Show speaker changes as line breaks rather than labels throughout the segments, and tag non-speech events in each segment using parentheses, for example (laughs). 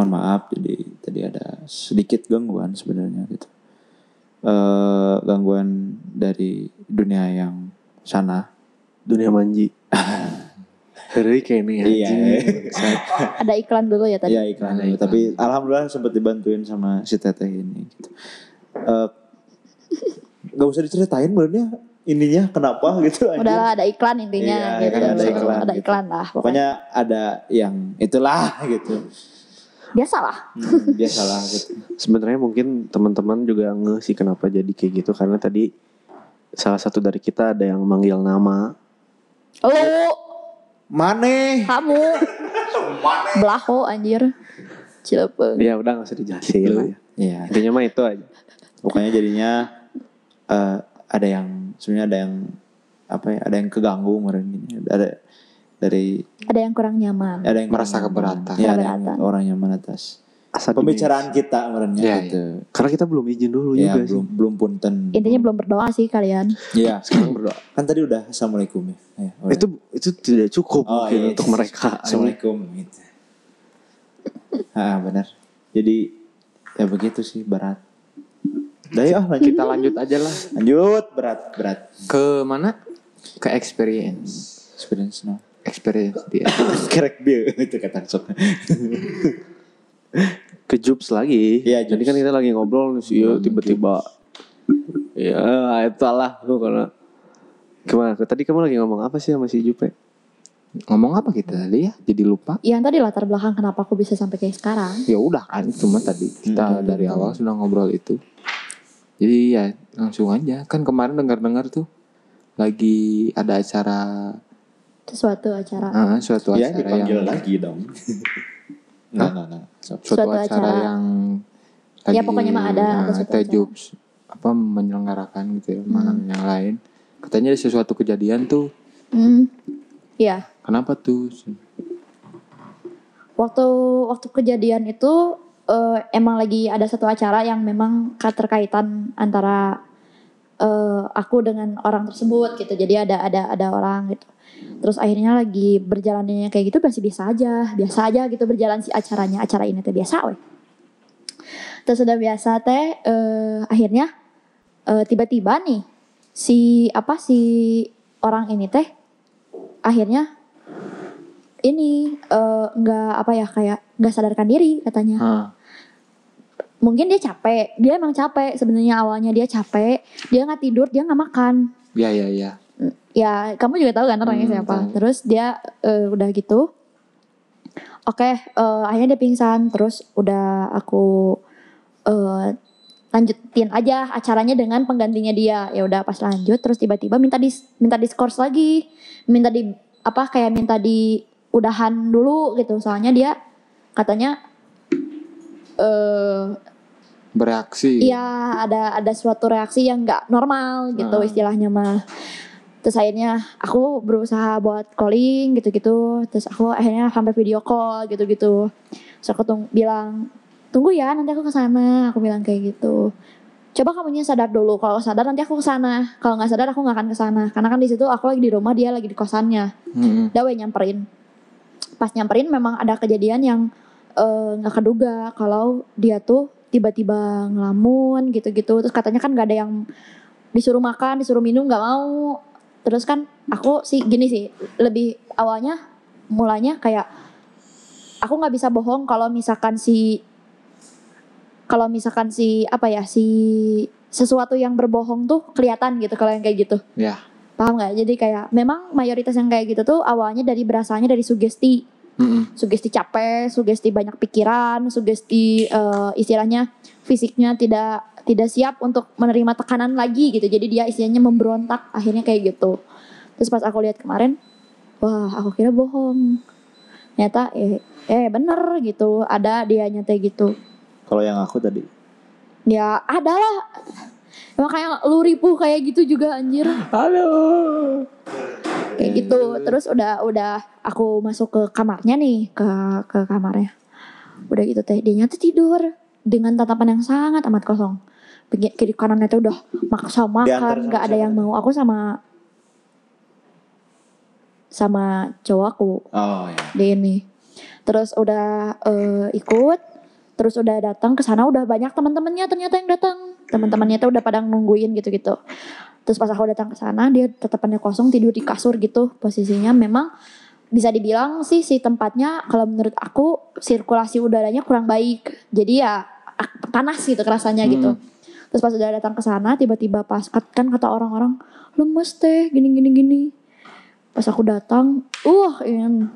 maaf jadi tadi ada sedikit gangguan sebenarnya gitu eh gangguan dari dunia yang sana
Dunia manji. Hari kayak ini
Iya.
Saya-
Ada iklan dulu ya tadi.
Iya iklan
Ada
dulu.
iklan.
Tapi alhamdulillah sempat dibantuin sama si teteh ini. Gitu. Eh, gak usah diceritain sebenarnya ininya kenapa gitu.
Udah
aja.
lah, ada iklan intinya
Iya,
gitu.
kan ada iklan
Ada
gitu.
iklan lah. Pokoknya
Pokoknya ada yang itulah gitu.
biasalah.
Hmm, biasalah gitu.
Sebenarnya mungkin teman-teman juga ngeh sih kenapa jadi kayak gitu karena tadi salah satu dari kita ada yang manggil nama.
Lu,
Mane.
Oh. kamu. Belaho anjir. Cilepeng.
Ya udah nggak usah dijelasin. lah ya.
Iya.
Intinya mah itu aja.
Pokoknya jadinya eh, ada yang sebenarnya ada yang apa ya? Ada yang keganggu kemarin ini. Ada dari
Ada yang kurang nyaman.
ada yang
Merasa keberatan.
Iya, ada yang
Keberatan.
orang yang menetas.
Asal
Pembicaraan kita kemarin ya,
Iya, iya.
gitu.
Karena kita belum izin dulu
Ya,
juga
belum belum punten.
Intinya belum berdoa sih kalian.
Iya.
sih. Sekarang berdoa.
Kan tadi udah assalamualaikum ya. Ya, udah.
Itu itu tidak cukup
Oh,
mungkin
iya.
untuk mereka.
assalamualaikum gitu. Ah benar. Jadi ya begitu sih berat. Dari ah lanjut
Kita lanjut aja lah
lanjut berat berat.
ke mana? Ke experience.
Experience no.
Experience dia.
Kerek bieu (laughs) itu kata sok.
Ke Jobs lagi.
Iya, Hmm,
Jadi
Jobs.
kan kita lagi ngobrol nih sih, yuk, tiba-tiba ya itu lah lu karena Gimana? Tadi kamu lagi ngomong apa sih sama si Jupe?
Ngomong apa kita
Hmm.
tadi ya? Jadi lupa.
Yang tadi latar belakang kenapa aku bisa sampai kayak sekarang.
ya udah kan cuma tadi kita
Hmm.
dari awal sudah ngobrol itu jadi ya langsung aja kan kemarin dengar-dengar tuh lagi ada acara
Sesuatu acara.
eh, suatu
Ya
Iya,
acara yang
dipanggil lagi dong. Nah, nah, nah. Sok.
suatu,
Suatu
acara,
acara.
yang
Ya, pokoknya mah ada, ada
eh,
suatu
Teh
acara.
Jobs, apa menyelenggarakan gitu ya malam yang lain katanya ada sesuatu kejadian tuh
Hmm. Iya.
kenapa tuh
Waktu waktu kejadian itu eh, emang lagi ada satu acara yang memang keterkaitan antara eh, aku dengan orang tersebut gitu. Jadi ada ada ada orang gitu. Terus akhirnya lagi berjalannya kayak gitu masih biasa aja, biasa aja gitu berjalan si acaranya. Acara ini teh biasa weh. Terus udah biasa teh eh, akhirnya eh, tiba-tiba nih si apa si orang ini teh akhirnya ini eh, nggak apa ya kayak nggak sadarkan diri katanya
Hah,
mungkin dia capek dia emang capek sebenarnya awalnya dia capek dia nggak tidur dia nggak makan
ya ya ya
ya kamu juga tahu kan orangnya
Hmm,
siapa
tahu.
terus dia eh, udah gitu oke eh, akhirnya dia pingsan terus udah aku eh, lanjutin aja acaranya dengan penggantinya dia ya udah pas lanjut terus tiba-tiba minta dis minta diskors lagi minta di apa kayak minta di udahan dulu gitu soalnya dia katanya eh
bereaksi
Iya ada ada suatu reaksi yang nggak normal gitu
Hmm.
istilahnya mah. Terus akhirnya aku berusaha buat calling gitu-gitu. Terus aku akhirnya sampai video call gitu-gitu. Terus aku tung- bilang tunggu ya nanti aku kesana. Aku bilang kayak gitu. Coba kamunya sadar dulu. Kalau sadar nanti aku kesana. Kalau nggak sadar aku nggak akan kesana. Karena kan di situ aku lagi di rumah dia lagi di kosannya.
Mm-mm.
Dawe nyamperin. Pas nyamperin memang ada kejadian yang eh, nggak keduga kalau dia tuh tiba-tiba ngelamun gitu-gitu. Terus katanya kan gak ada yang disuruh makan, disuruh minum nggak mau. Terus kan aku sih gini sih lebih awalnya mulanya kayak aku nggak bisa bohong kalau misalkan si kalau misalkan si apa ya si sesuatu yang berbohong tuh kelihatan gitu kalau yang kayak gitu
Ya.
paham nggak jadi kayak memang mayoritas yang kayak gitu tuh awalnya dari berasalnya dari sugesti
Mm-mm.
sugesti capek sugesti banyak pikiran sugesti eh, istilahnya fisiknya tidak tidak siap untuk menerima tekanan lagi gitu jadi dia istilahnya memberontak akhirnya kayak gitu terus pas aku lihat kemarin wah aku kira bohong ternyata eh, eh bener gitu ada dia nyata gitu
Kalau yang aku tadi
ya adalah emang kayak lu ripuh kayak gitu juga anjir
halo
kayak gitu terus udah udah aku masuk ke kamarnya nih ke ke kamarnya udah gitu teh dia tuh tidur dengan tatapan yang sangat amat kosong Pegi- kiri kanannya tuh udah maksa
Diantar sama
makan nggak ada
siapa
yang
tuh?
mau aku sama sama cowokku
Oh iya. ya.
di ini terus udah eh, ikut terus udah datang ke sana udah banyak teman-temannya ternyata yang datang teman-temannya tuh udah pada nungguin gitu-gitu terus pas aku datang ke sana dia tatapannya kosong tidur di kasur gitu posisinya memang bisa dibilang sih si tempatnya kalau menurut aku sirkulasi udaranya kurang baik jadi ya ak- panas gitu rasanya gitu terus pas udah datang ke sana tiba-tiba pas kat- kan kata orang-orang lemes teh gini gini gini pas aku datang uh ini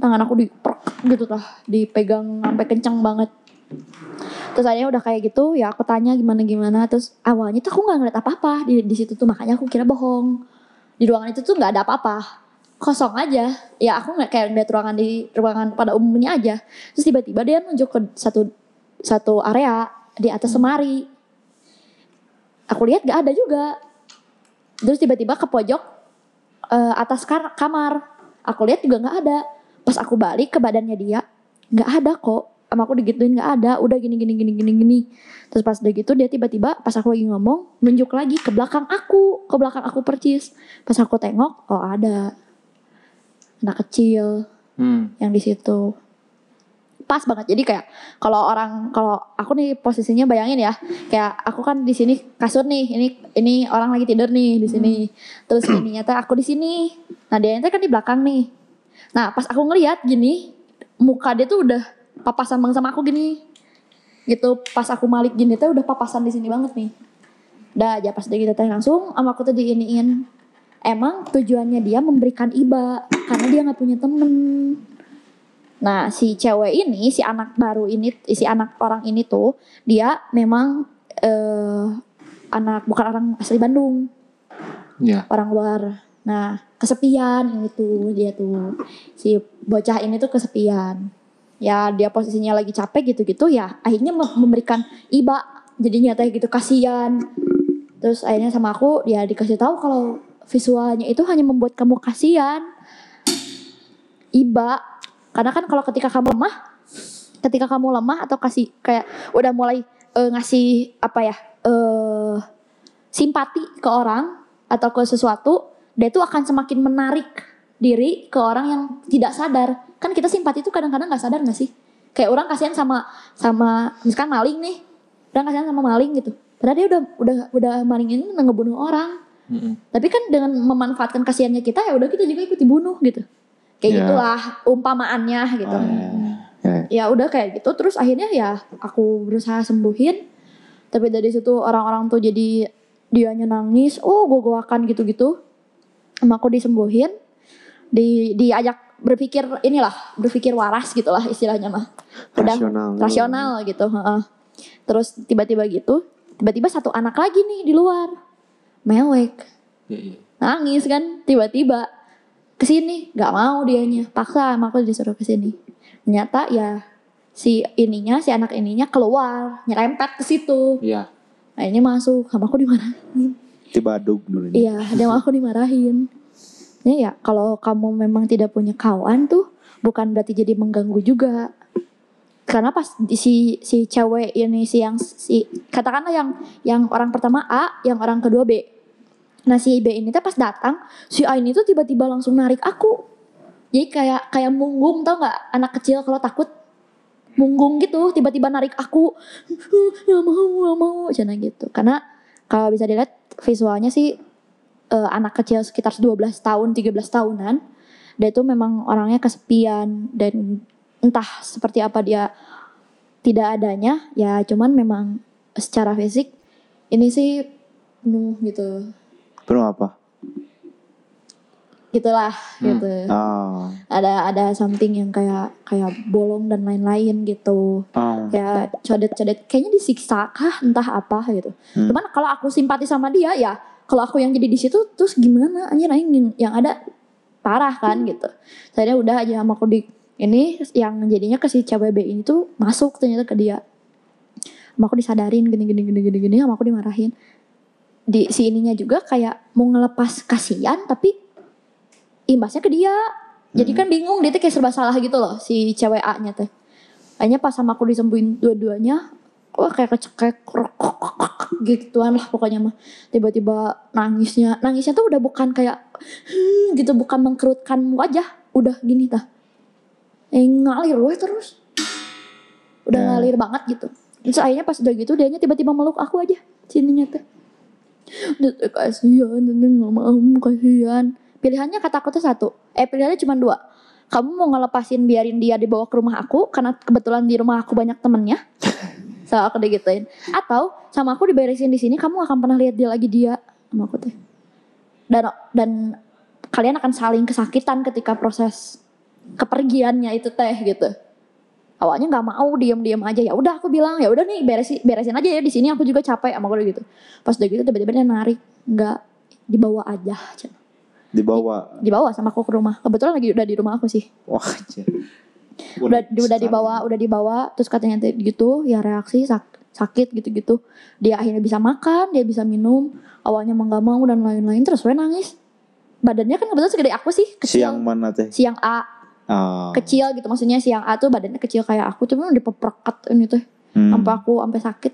tangan aku diperk gitu lah dipegang sampai kencang banget terus akhirnya udah kayak gitu ya aku tanya gimana gimana terus awalnya tuh aku nggak ngeliat apa apa di di situ tuh makanya aku kira bohong di ruangan itu tuh nggak ada apa-apa kosong aja ya aku nggak kayak ngeliat ruangan di ruangan pada umumnya aja terus tiba-tiba dia nunjuk ke satu satu area di atas semari aku lihat nggak ada juga terus tiba-tiba ke pojok eh, atas kar- kamar aku lihat juga nggak ada pas aku balik ke badannya dia nggak ada kok sama aku digituin nggak ada udah gini gini gini gini gini terus pas udah gitu dia tiba-tiba pas aku lagi ngomong nunjuk lagi ke belakang aku ke belakang aku percis pas aku tengok oh ada anak kecil
Hmm.
yang di situ pas banget jadi kayak kalau orang kalau aku nih posisinya bayangin ya kayak aku kan di sini kasur nih ini ini orang lagi tidur nih di sini terus ini nyata aku di sini nah dia nyata kan di belakang nih nah pas aku ngeliat gini muka dia tuh udah papasan banget sama aku gini gitu pas aku malik gini tuh udah papasan di sini banget nih udah aja pas dia gitu teh langsung sama aku tuh diiniin emang tujuannya dia memberikan iba karena dia nggak punya temen Nah, si cewek ini, si anak baru ini, si anak orang ini tuh, dia memang eh anak bukan orang asli Bandung,
Ya.
orang luar. Nah, kesepian itu dia tuh. Si bocah ini tuh kesepian. Ya, dia posisinya lagi capek gitu-gitu ya, akhirnya mem- memberikan iba. Jadi nyatanya gitu kasihan. Terus akhirnya sama aku dia dikasih tahu kalau visualnya itu hanya membuat kamu kasihan. Iba. Karena kan kalau ketika kamu lemah, ketika kamu lemah atau kasih kayak udah mulai eh, ngasih apa ya? eh simpati ke orang atau ke sesuatu, dia itu akan semakin menarik diri ke orang yang tidak sadar. Kan kita simpati itu kadang-kadang nggak sadar nggak sih? Kayak orang kasihan sama sama misalkan maling nih, orang kasihan sama maling gitu. Padahal dia udah udah udah maling ini ngebunuh orang.
Mm-mm.
Tapi kan dengan memanfaatkan kasihannya kita ya udah kita juga ikut dibunuh gitu. Kayak
Ya.
gitulah umpamaannya gitu
Oh, ya. Ya,
ya udah kayak gitu terus akhirnya ya aku berusaha sembuhin tapi dari situ orang-orang tuh jadi dianya nangis oh gue goakan gitu-gitu sama aku disembuhin di diajak berpikir inilah berpikir waras gitulah istilahnya mah udah
rasional
rasional gitu heeh. terus tiba-tiba gitu tiba-tiba satu anak lagi nih di luar mewek
Iya,
Ya, ya.
nangis kan tiba-tiba kesini nggak mau dianya paksa sama aku disuruh kesini ternyata ya si ininya si anak ininya keluar nyerempet ke situ
Ya.
akhirnya masuk sama aku dimarahin
tiba aduk dulu ini.
iya dia sama aku dimarahin ya ya kalau kamu memang tidak punya kawan tuh bukan berarti jadi mengganggu juga karena pas di- si si cewek ini si yang si katakanlah yang yang orang pertama A yang orang kedua B nah si B ini tuh pas datang si A ini tuh tiba-tiba langsung narik aku jadi kayak kayak munggung tau nggak anak kecil kalau takut munggung gitu tiba-tiba narik aku (laughs) nggak mau nggak mau jangan gitu karena kalau bisa dilihat visualnya sih eh, anak kecil sekitar 12 tahun 13 tahunan dia itu memang orangnya kesepian dan entah seperti apa dia tidak adanya ya cuman memang secara fisik ini sih penuh gitu
Penuh apa?
gitulah gitu
Oh.
ada ada something yang kayak kayak bolong dan lain-lain gitu
Oh.
kayak codet-codet kayaknya disiksa kah entah apa gitu
Hmm.
cuman kalau aku simpati sama dia ya kalau aku yang jadi di situ terus gimana anjir aing yang ada parah kan gitu saya udah aja sama aku di ini yang jadinya ke si cewek B ini tuh masuk ternyata ke dia sama aku disadarin gini gini gini gini gini sama aku dimarahin di si ininya juga kayak mau ngelepas kasihan tapi imbasnya ke dia jadi kan bingung dia tuh kayak serba salah gitu loh si cewek A nya teh akhirnya pas sama aku disembuhin dua-duanya wah kayak kecekek krok, krok, krok, krok, gituan lah pokoknya mah tiba-tiba nangisnya nangisnya tuh udah bukan kayak "Hmm," gitu bukan mengkerutkan wajah udah gini tah eh, ngalir weh terus udah
Ya.
ngalir banget gitu terus akhirnya pas udah gitu dianya tiba-tiba meluk aku aja sininya teh Udah, eh, kasihan nenek nggak mau kasihan pilihannya kata aku tuh satu eh pilihannya cuma dua kamu mau ngelepasin biarin dia dibawa ke rumah aku karena kebetulan di rumah aku banyak temennya so aku digituin atau sama aku diberesin di sini kamu gak akan pernah lihat dia lagi dia sama aku teh dan dan kalian akan saling kesakitan ketika proses kepergiannya itu teh gitu awalnya nggak mau diam-diam aja ya udah aku bilang ya udah nih beresin beresin aja ya di sini aku juga capek sama aku udah gitu pas udah gitu tiba-tiba dia narik nggak dibawa aja Cen.
dibawa
dibawa sama aku ke rumah kebetulan lagi udah di rumah aku sih
wah anjir.
udah
Unik
udah
sekali.
dibawa udah dibawa terus katanya tuh gitu ya reaksi sak- sakit gitu-gitu dia akhirnya bisa makan dia bisa minum awalnya mau nggak mau dan lain-lain terus gue nangis badannya kan kebetulan segede aku sih kecil
siang mana teh
siang A
Ah.
kecil gitu maksudnya siang A tuh badannya kecil kayak aku cuma dipeprokat ini tuh
Hmm.
sampai aku sampai sakit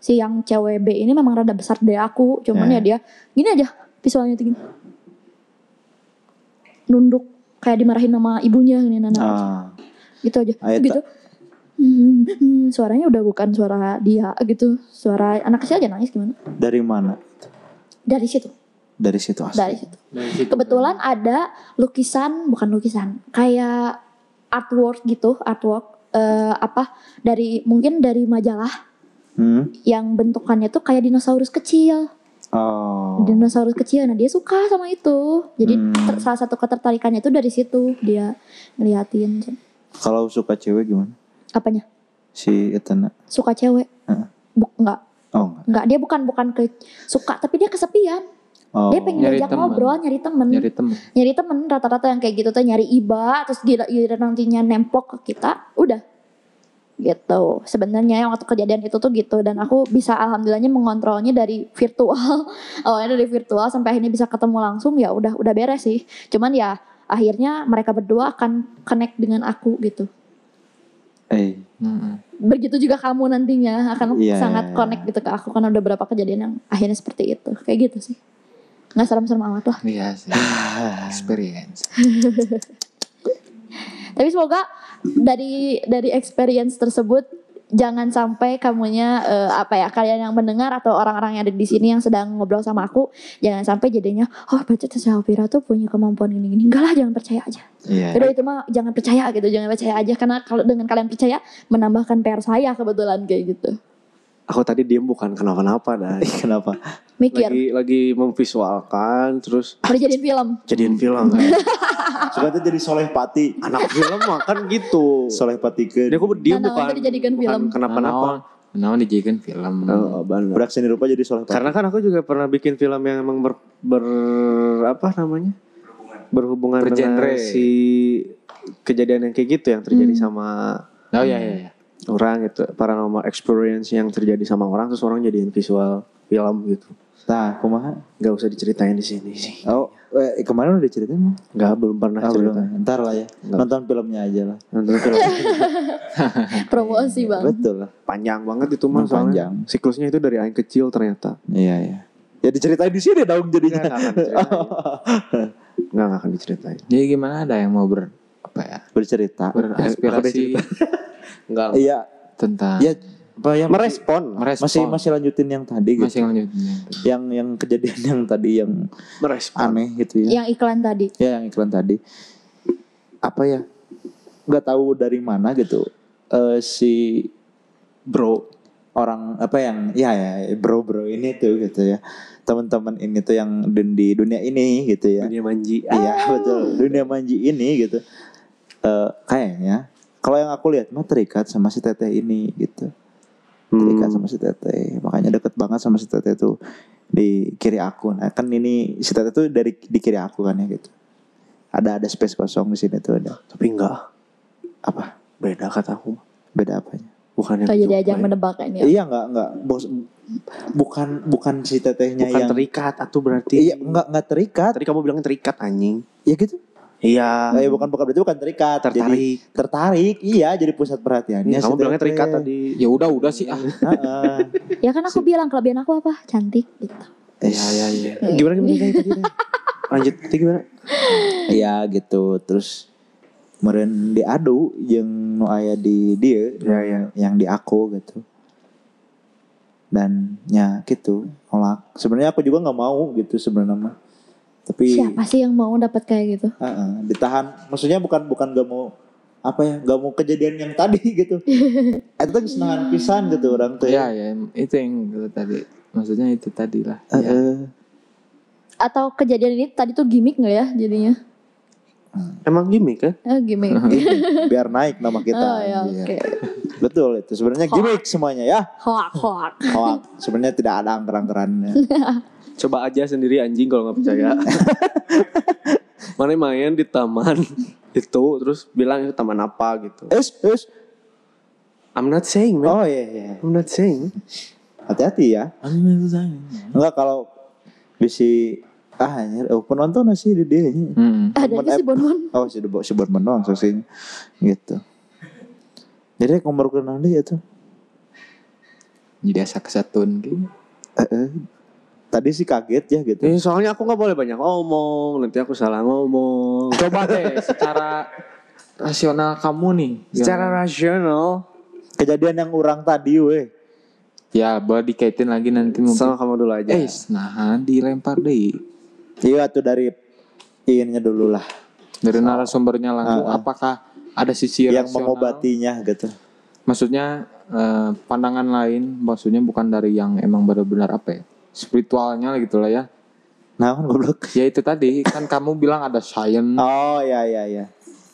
si yang cewek B ini memang rada besar dari aku cuman
Ya.
ya dia gini aja visualnya tuh gini nunduk kayak dimarahin sama ibunya nah, ini nana
Ah.
gitu aja
Ah, eta.
gitu Hmm, hmm, suaranya udah bukan suara dia gitu suara anak kecil aja nangis gimana
dari mana
dari situ
dari situ asli
dari situ
Nah,
kebetulan ada lukisan bukan lukisan kayak artwork gitu artwork eh, apa dari mungkin dari majalah
Hmm?
yang bentukannya tuh kayak dinosaurus kecil
oh
dinosaurus kecil nah dia suka sama itu jadi
Hmm.
ter- salah satu ketertarikannya itu dari situ dia ngeliatin
kalau suka cewek gimana
apanya
si Etana
suka cewek
Heeh.
Bu- enggak
oh enggak
enggak dia bukan bukan ke suka tapi dia kesepian
oh
dia pengen
Nyari
diajak
teman.
ngobrol nyari temen nyari,
nyari temen
temen rata-rata yang kayak gitu tuh nyari iba terus gila gila nantinya nemplok ke kita udah gitu sebenarnya yang waktu kejadian itu tuh gitu dan aku bisa alhamdulillahnya mengontrolnya dari virtual (laughs) awalnya dari virtual sampai akhirnya bisa ketemu langsung ya udah udah beres sih cuman ya akhirnya mereka berdua akan connect dengan aku gitu
eh
Mm-mm.
begitu juga kamu nantinya akan
Iya, iya,
sangat
iya.
connect gitu ke aku karena udah berapa kejadian yang akhirnya seperti itu kayak gitu sih nggak serem-serem amat lah
iya sih experience
tapi semoga dari dari experience tersebut jangan sampai kamunya eh, apa ya kalian yang mendengar atau orang-orang yang ada di sini yang sedang ngobrol sama aku jangan sampai jadinya oh baca Safira tuh punya kemampuan ini gini enggak lah jangan percaya aja
(laughs) iya
Udah itu mah jangan percaya gitu jangan percaya aja karena kalau dengan kalian percaya menambahkan PR saya kebetulan kayak gitu
Aku tadi diem bukan kenapa-napa
(laughs)
dan
kenapa
mikir
lagi lagi memvisualkan terus
udah jadiin film
jadian film kan.
suka tuh jadi soleh pati
(laughs) anak film mah kan gitu.
soleh patikeun
Dia aku diem
Nah, nah,
bukan,
itu dijadikan
bukan
film.
kenapa-napa.
Oh,
Naon dijadikan film
Oh, bener.
budak seni rupa jadi soleh pati
Karena kan aku juga pernah bikin film yang emang ber, ber- apa namanya berhubungan
Bergenre.
dengan si kejadian yang kayak gitu yang terjadi
Hmm.
sama
oh iya iya iya.
orang gitu paranormal experience yang terjadi sama orang terus orang jadiin visual film gitu
nah kumaha
nggak usah diceritain di sini sih
oh eh, kemarin udah ceritain emang?
nggak belum pernah
Ah,
cerita
belum. Ntar lah ya.
Nah, Nggak.
Nonton filmnya aja lah.
Nonton film (laughs)
promosi bang
Betul lah.
panjang banget itu mah
Emang
soalnya
panjang.
siklusnya itu dari aing kecil ternyata
Iya, iya. Ya diceritain di sini dong
(laughs) nggak
jadinya.
nggak akan diceritain nggak nggak akan diceritain
jadi gimana ada yang mau ber apa ya
(laughs) Bercerita.
beraspirasi
nggak lah.
Iya,
tentang
ya apa ya masih,
merespon lah.
masih
merespon
masih lanjutin yang tadi gitu.
masih lanjut
Yang yang kejadian yang tadi yang
merespon
aneh gitu ya.
yang iklan tadi
Ya yang iklan tadi. Apa ya? Nggak tahu dari mana gitu. Eh si bro orang apa yang ya ya bro bro ini tuh gitu ya teman-teman ini tuh yang di, di dunia ini gitu ya
dunia manji
Iya betul dunia manji ini gitu Eh, kayaknya kalau yang aku lihat mah terikat sama si teteh ini gitu
Hmm.
terikat sama si teteh makanya deket banget sama si teteh tuh di kiri aku nah kan ini si teteh tuh dari di kiri aku kan ya gitu ada ada space kosong di sini tuh ada
tapi enggak
apa
beda kataku
beda apanya
bukan yang
oh jadi aja
lain.
menebak ini
iya nggak nggak bos bukan bukan si tetehnya
bukan
yang
terikat atau berarti
iya nggak nggak terikat
tadi kamu bilang terikat anjing
ya gitu
iya
Nah, ya bukan bukan berarti bukan terikat jadi
tertarik Hmm,
tertarik iya jadi pusat perhatiannya
kamu
si
bilangnya
teteh.
terikat tadi Iya,
ya udah udah sih ah
(laughs)
Heeh.
ya kan aku bilang kelebihan aku apa cantik gitu
Iya, iya,
iya
gimana gimana gimana, gimana, gimana? lanjut itu gimana
Iya, gitu. Terus meren diadu yang nu aya di dia
Ya, ya.
yang di aku gitu dan ya gitu nolak sebenarnya aku juga nggak mau gitu sebenarnya mah. tapi
Siapa sih yang mau dapat kayak gitu?
Heeh, ditahan maksudnya bukan bukan gak mau apa ya gak mau kejadian yang tadi (laughs) gitu itu kan senangan
Iya.
pisan gitu orang tuh
ya ya itu yang itu tadi maksudnya itu tadi lah
Ah,
ya.
Heeh.
Atau kejadian ini tadi tuh gimmick nggak ya jadinya?
Emang gimmick kan?
Eh, gimmick.
Gimik, biar naik nama kita
oh ya,
anjir.
oke.
betul itu sebenarnya gimmick semuanya ya
Hoak, hoak.
hoak sebenarnya tidak ada
(laughs)
angkeran-angkerannya
Coba aja sendiri anjing kalau nggak (laughs) percaya. Mana main di taman (laughs) itu terus bilang itu taman apa gitu.
es es
I'm not saying
oh
man.
iya iya
I'm not saying.
hati-hati ya enggak kalau bisi ah anjir oh, penonton sih di dia anjir.
Hmm.
Ada
Bonbon
aja si
app.
Bonbon.
Oh si Debo- si Borman doang saksinya gitu. Jadi aku baru kenal dia ya, tuh.
jadi asa kesatun gitu
Eh, eh. Tadi sih kaget ya gitu.
Eh,
Iya.
soalnya aku nggak boleh banyak ngomong. Nanti aku salah (laughs) ngomong.
coba deh secara rasional kamu nih
Secara rasional
Kejadian yang orang tadi weh.
ya boleh dikaitin lagi nanti mungkin
sama kamu dulu aja.
ya.
eh nah dilempar deh
Iya tuh dari iinnya dulu lah.
dari narasumbernya langsung
Ah, ah.
apakah ada sisi
yang
Iya, rasional?
mengobatinya gitu.
maksudnya eh, pandangan lain maksudnya bukan dari yang emang benar-benar apa ya spiritualnya gitu lah ya
Nah kan goblok.
ya itu tadi kan kamu bilang ada science
Oh ya ya ya.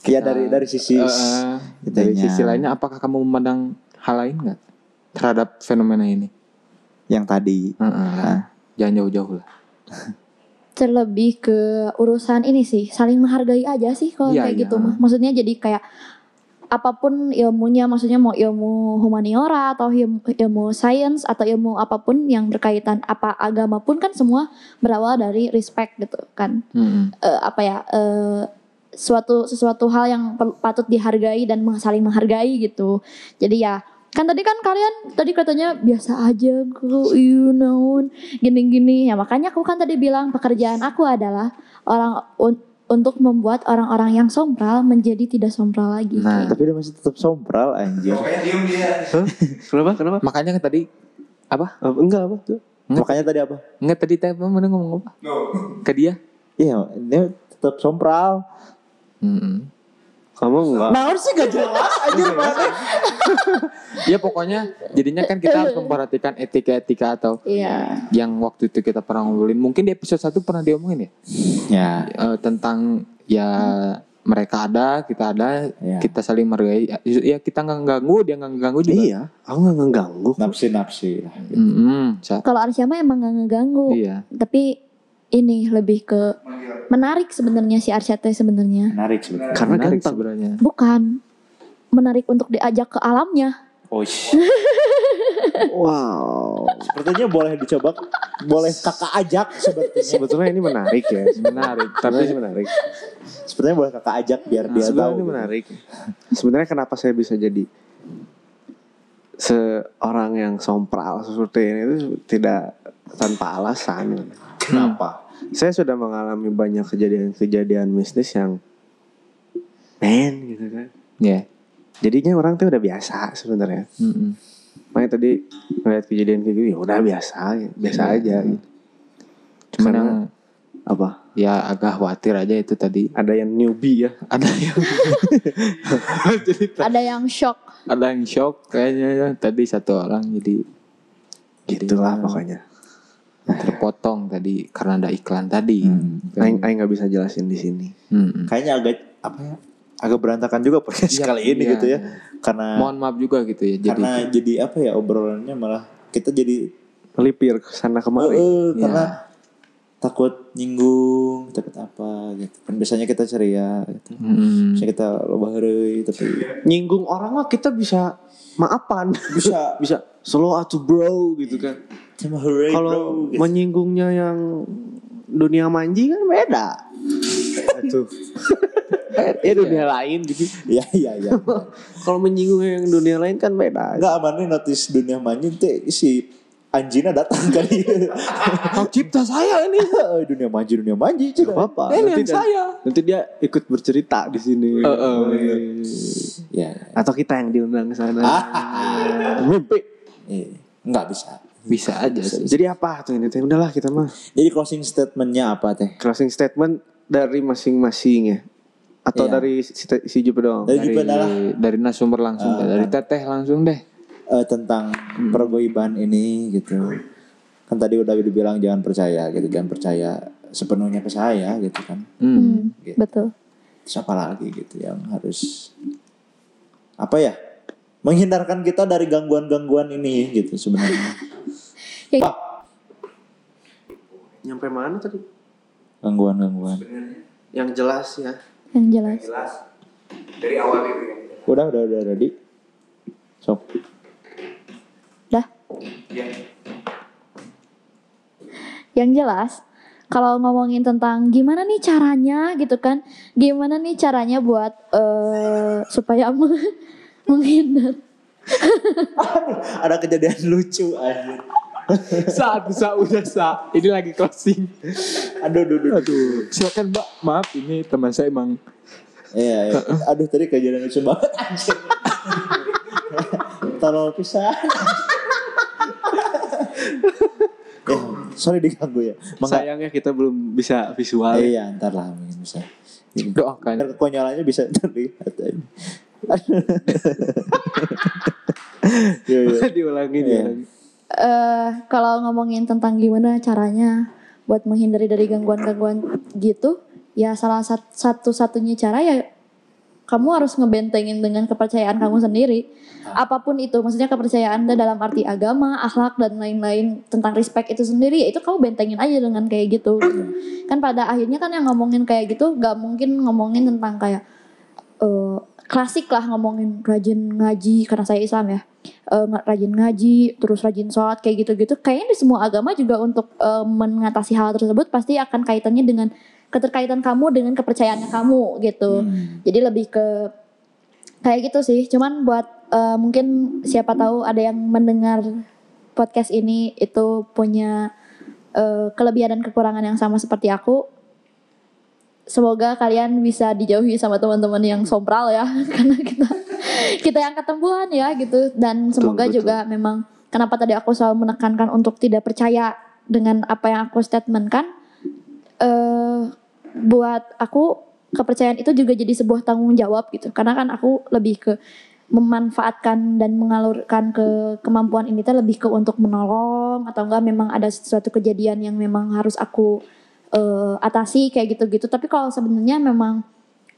Iya dari dari sisi
Eh, eh, dari
kitanya.
sisi lainnya apakah kamu memandang hal lain nggak terhadap fenomena ini
yang tadi.
Eh, eh, lah.
Ah.
jangan jauh-jauh lah
terlebih ke urusan ini sih saling menghargai aja sih kalau
Iya,
kayak
iya.
gitu mah maksudnya jadi kayak apapun ilmunya maksudnya mau ilmu humaniora atau ilmu, ilmu science atau ilmu apapun yang berkaitan apa agama pun kan semua berawal dari respect gitu kan
Mm-mm.
Eh, apa ya eh, suatu sesuatu hal yang perlu- patut dihargai dan meng- saling menghargai gitu jadi ya kan tadi kan kalian tadi katanya biasa aja kok you know gini-gini ya makanya aku kan tadi bilang pekerjaan aku adalah orang un- untuk membuat orang-orang yang sombral menjadi tidak sombral lagi
Nah.
Tapi dia masih tetap sompral anjir.
Kenapa? Kenapa?
makanya kan tadi apa
Apa- enggak apa tuh?
Hmm?
Makanya tadi apa?
nggak tadi tadi apa? Mana ngomong apa ke dia
Iya, dia tetap sompral.
Mm-mm.
Kamu enggak.
Nah, harus sih gak jelas anjir mana?
ya pokoknya jadinya kan kita harus memperhatikan etika-etika atau
iya
yang waktu itu kita pernah ngobrolin mungkin di episode 1 pernah diomongin ya
Ya,
Eh, tentang ya mereka ada kita ada
Ya.
Iya.
kita saling menghargai ya ya kita nggak ganggu dia nggak ganggu juga
Iya, aku nggak ngeganggu.
nafsi-nafsi. lah.
Mm-mm, Sa.
kalau Arsyama emang gak ngeganggu
iya
tapi ini lebih ke menarik sebenarnya si Arsyad teh sebenarnya
Menarik sebetulnya.
Karena
menarik
ganteng.
sebenarnya
bukan menarik untuk diajak ke alamnya
Oh,
Wow.
Sepertinya boleh dicoba, boleh kakak ajak sepertinya.
Sebetulnya ini menarik ya.
menarik
Tapi
tapi
ini menarik.
Sepertinya boleh kakak ajak biar
Nah,
dia
Sebenarnya
tahu. gitu.
ini menarik. Sebenarnya kenapa saya bisa jadi seorang yang sompral seperti ini itu tidak tanpa alasan. Hmm.
Kenapa?
Saya sudah mengalami banyak kejadian-kejadian mistis yang man gitu kan.
ya
Jadinya orang tuh udah biasa sebenarnya.
Mm-mm.
Makanya tadi ngeliat kejadian kayak gitu ya udah biasa, biasa aja. Gitu.
cuman
Karena-
yang
Apa?
ya agak khawatir aja itu tadi (laughs)
Ada yang (laughs) newbie ya.
ada yang
ada yang shock
ada yang shock kayaknya ya. tadi satu orang jadi
Gitulah pokoknya.
(laughs) terpotong tadi karena ada iklan tadi
Hmm.
Aing aing nggak bisa jelasin di sini.
Mm-mm.
Kayaknya agak apa ya? Agak berantakan juga podcast
Iya,
kali ini
iya,
gitu ya.
iya.
Karena
mohon maaf juga gitu ya jadi
karena jadi apa ya obrolannya malah kita jadi
Melipir ke sana
eh,
kemari.
eh,
Iya.
karena takut nyinggung, takut apa gitu. Kan biasanya kita ceria gitu.
Mm-mm.
Biasanya kita loba heureuy tapi
Nyinggung orang mah kita bisa maafan.
Bisa.
(laughs) bisa slow atuh bro gitu kan.
cuma heureuy
Kalau
bro. (laughs) gitu.
menyinggungnya yang dunia manji kan beda. (laughs) Itu. ya dunia lain gitu.
Iya iya iya.
Kalau menyinggungnya yang dunia lain kan beda.
Enggak amane notice dunia manjing teh si Anjina datang (laughs) kali.
Hak cipta saya
(laughs)
ini.
Eh, dunia manji dunia manji
Gak apa-apa.
Ini
Nanti
yang
dia-
saya.
Nanti dia ikut bercerita di sini.
Heeh.
oh, iya,
Ya,
Atau kita yang diundang ke sana.
Mimpi.
nggak bisa. Bisa aja sih.
Jadi apa tuh ini? Teh udahlah kita mah
Jadi closing statementnya apa teh?
closing statement dari masing-masing ya. Atau
Iya.
dari si, si Jupe doang.
Dari Jupe adalah
dari narasumber langsung
Eh,
dari teteh langsung deh.
eh, tentang
Hmm.
pergoiban ini gitu. Kan tadi udah dibilang jangan percaya gitu, jangan percaya sepenuhnya ke saya gitu kan.
Hmm.
Hmm,
Gitu.
betul.
Terus apa lagi gitu yang harus apa ya? Menghindarkan kita dari gangguan-gangguan ini gitu sebenarnya.
Ya,
Nyampe mana tadi?
Gangguan-gangguan.
Yang jelas ya.
yang jelas.
Udah, udah, udah, ready. Sok. (laughs)
Dah. Yang jelas, kalau ngomongin tentang gimana nih caranya gitu kan, gimana nih caranya buat eh, supaya (laughs) meng- menghindar.
Ada kejadian lucu anjir.
(laughs) Saat bisa udah sa. Ini lagi closing.
Aduh, aduh, aduh.
Aduh. Silakan Mbak. Maaf ini teman saya emang
Iya, iya. Aduh tadi kejadian lucu banget anjir. (laughs) Tolol pisan. ya, sorry diganggu ya. Mangga.
Sayangnya kita belum bisa visual.
Eh, iya, ntar lah mungkin bisa.
doakan.
Biar kekonyolannya bisa (laughs) terlihat aja. Iya, iya.
(laughs) diulangi
Iya.
diulangi.
Eh, kalau ngomongin tentang gimana caranya buat menghindari dari gangguan-gangguan gitu, ya salah sat- satu-satunya cara ya kamu harus ngebentengin dengan kepercayaan kamu sendiri. Apapun itu, maksudnya kepercayaan Anda dalam arti agama, akhlak dan lain-lain tentang respect itu sendiri, ya itu kamu bentengin aja dengan kayak gitu. kan pada akhirnya kan yang ngomongin kayak gitu gak mungkin ngomongin tentang kayak eh, klasik lah ngomongin rajin ngaji karena saya Islam ya. Eh, nggak rajin ngaji, terus rajin sholat kayak gitu-gitu. Kayaknya di semua agama juga untuk eh, mengatasi hal tersebut pasti akan kaitannya dengan keterkaitan kamu dengan kepercayaannya kamu gitu.
Hmm.
Jadi lebih ke kayak gitu sih. Cuman buat eh, mungkin siapa tahu ada yang mendengar podcast ini itu punya eh, kelebihan dan kekurangan yang sama seperti aku. Semoga kalian bisa dijauhi sama teman-teman yang sompral ya (laughs) karena kita kita yang ketempuhan ya gitu dan semoga
betul.
juga memang kenapa tadi aku selalu menekankan untuk tidak percaya dengan apa yang aku statementkan eh buat aku kepercayaan itu juga jadi sebuah tanggung jawab gitu karena kan aku lebih ke memanfaatkan dan mengalurkan ke kemampuan ini teh lebih ke untuk menolong atau enggak memang ada sesuatu kejadian yang memang harus aku eh, atasi kayak gitu-gitu tapi kalau sebenarnya memang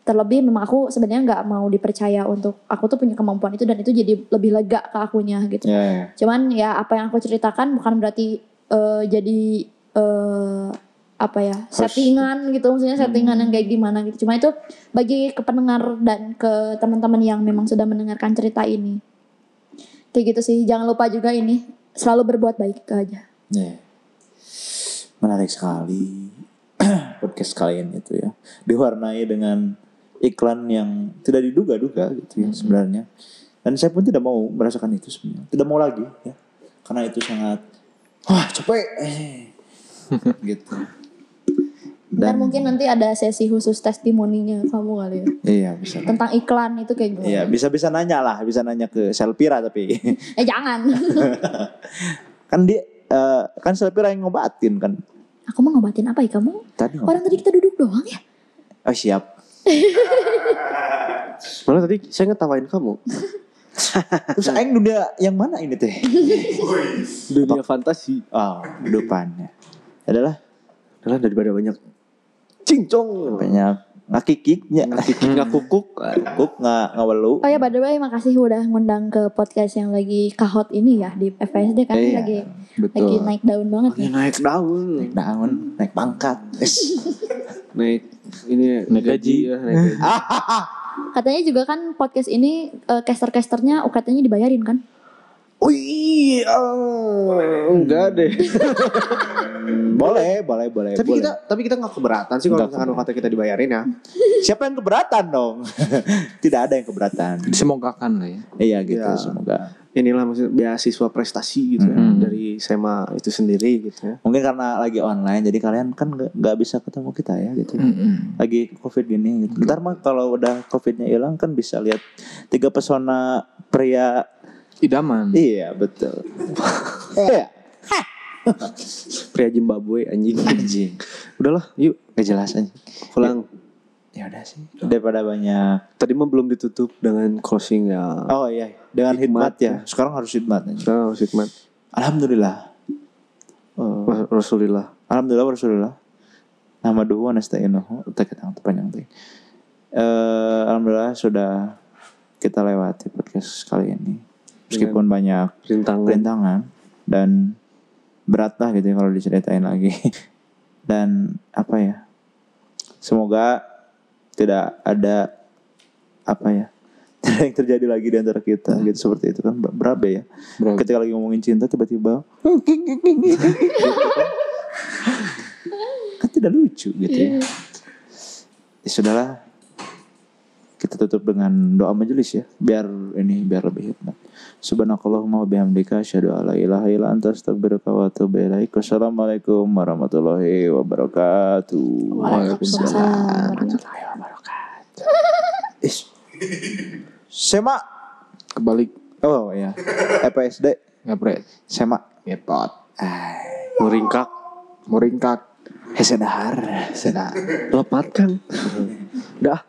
terlebih memang aku sebenarnya nggak mau dipercaya untuk aku tuh punya kemampuan itu dan itu jadi lebih lega ke akunya gitu
Iya, iya.
Cuman ya apa yang aku ceritakan bukan berarti eh, jadi eh, apa ya settingan gitu maksudnya settingan yang kayak gimana gitu. Cuma itu bagi ke pendengar dan ke teman-teman yang memang sudah mendengarkan cerita ini. Kayak gitu sih. Jangan lupa juga ini selalu berbuat baik itu aja.
Iya. Menarik sekali (clears throat) podcast kalian itu ya. Diwarnai dengan iklan yang tidak diduga-duga gitu ya sebenarnya. Dan saya pun tidak mau merasakan itu sebenarnya. Tidak mau lagi ya. Karena itu sangat wah capek (laughs) eh, gitu.
Dan mungkin nanti ada sesi khusus testimoninya kamu kali ya.
iya bisa.
Tentang iklan itu kayak gimana.
Iya,
Hmm.
bisa-bisa nanya lah, bisa nanya ke Selpira tapi (laughs)
Eh jangan. (laughs)
kan dia eh, kan Selpira yang ngobatin kan.
aku mau ngobatin apa ya kamu?
Tadi ngobat-
Orang tadi kita duduk doang ya.
Oh siap.
Malah tadi saya ngetawain kamu.
Terus aing dunia yang mana ini teh?
Dunia fantasi
Oh, depannya adalah
adalah daripada banyak cincong.
banyak ngakikiknya
Kiki nggak kukuk.
kuk nggak ngawelu
Oh ya by the way makasih udah ngundang ke podcast yang lagi kahot ini ya di FSD kan
Iya,
lagi lagi
Betul.
naik daun banget
Lagi
ya.
naik daun.
daun naik pangkat
Naik ini
Naik gaji.
ya, naik gaji.
Katanya juga kan podcast ini eh, caster-casternya UKT-nya dibayarin kan?
Wih, eh, enggak deh.
boleh boleh boleh
tapi
boleh.
kita tapi kita nggak keberatan sih kalau
Nggak
misalkan kata kita dibayarin ya.
siapa yang keberatan dong (laughs) tidak ada yang keberatan
Semogakan lah ya.
iya gitu
Iya.
semoga
inilah maksudnya beasiswa prestasi gitu ya,
Mhm.
dari SEMA itu sendiri gitu ya.
Mungkin karena lagi online jadi kalian kan nggak- nggak bisa ketemu kita ya gitu.
Mm-mm.
Lagi covid gini gitu. Ntar mah kalau udah covidnya hilang kan bisa lihat tiga pesona pria.
Idaman.
Iya betul. Iya.
Pria Zimbabwe anjing.
Anjing.
(laughs) Udahlah, yuk
Gak jelas anjing.
pulang.
Ya udah sih. Daripada banyak.
Tadi mah belum ditutup dengan closing ya.
Oh iya. Dengan
Hikmat.
hikmat, ya. Sekarang harus hikmat. anjing.
Sekarang harus hikmat.
Alhamdulillah. Oh.
Wah, Rasulillah.
Alhamdulillah Rasulullah. Nama dua nasta'inuhu. Tek tang panjang teh. Eh alhamdulillah sudah kita lewati podcast kali ini. Meskipun banyak
Rintangan.
rintangan dan berat lah gitu ya kalau diceritain lagi. (laughs) dan apa ya? Semoga tidak ada apa ya? (laughs) Tidak yang terjadi lagi di antara kita gitu seperti itu kan ber- berabe ya.
Berabe.
Ketika lagi ngomongin cinta tiba-tiba (laughs) kan tidak lucu gitu ya. Ya sudahlah. Kita tutup dengan doa majelis ya. Biar ini biar lebih hikmat. Subhanakallahumma wa bihamdika asyhadu an la ilaha illa anta astaghfiruka wa atubu ilaik. Wassalamualaikum warahmatullahi wabarakatuh.
Waalaikumsalam.
warahmatullahi wabarakatuh. Is. Sema.
Kebalik.
Oh iya. EPSD
Ngepret.
Sema.
Ngepot. Ah.
Meringkak.
Muringkak.
Hesedahar.
Sedap.
Lepatkan. Dah.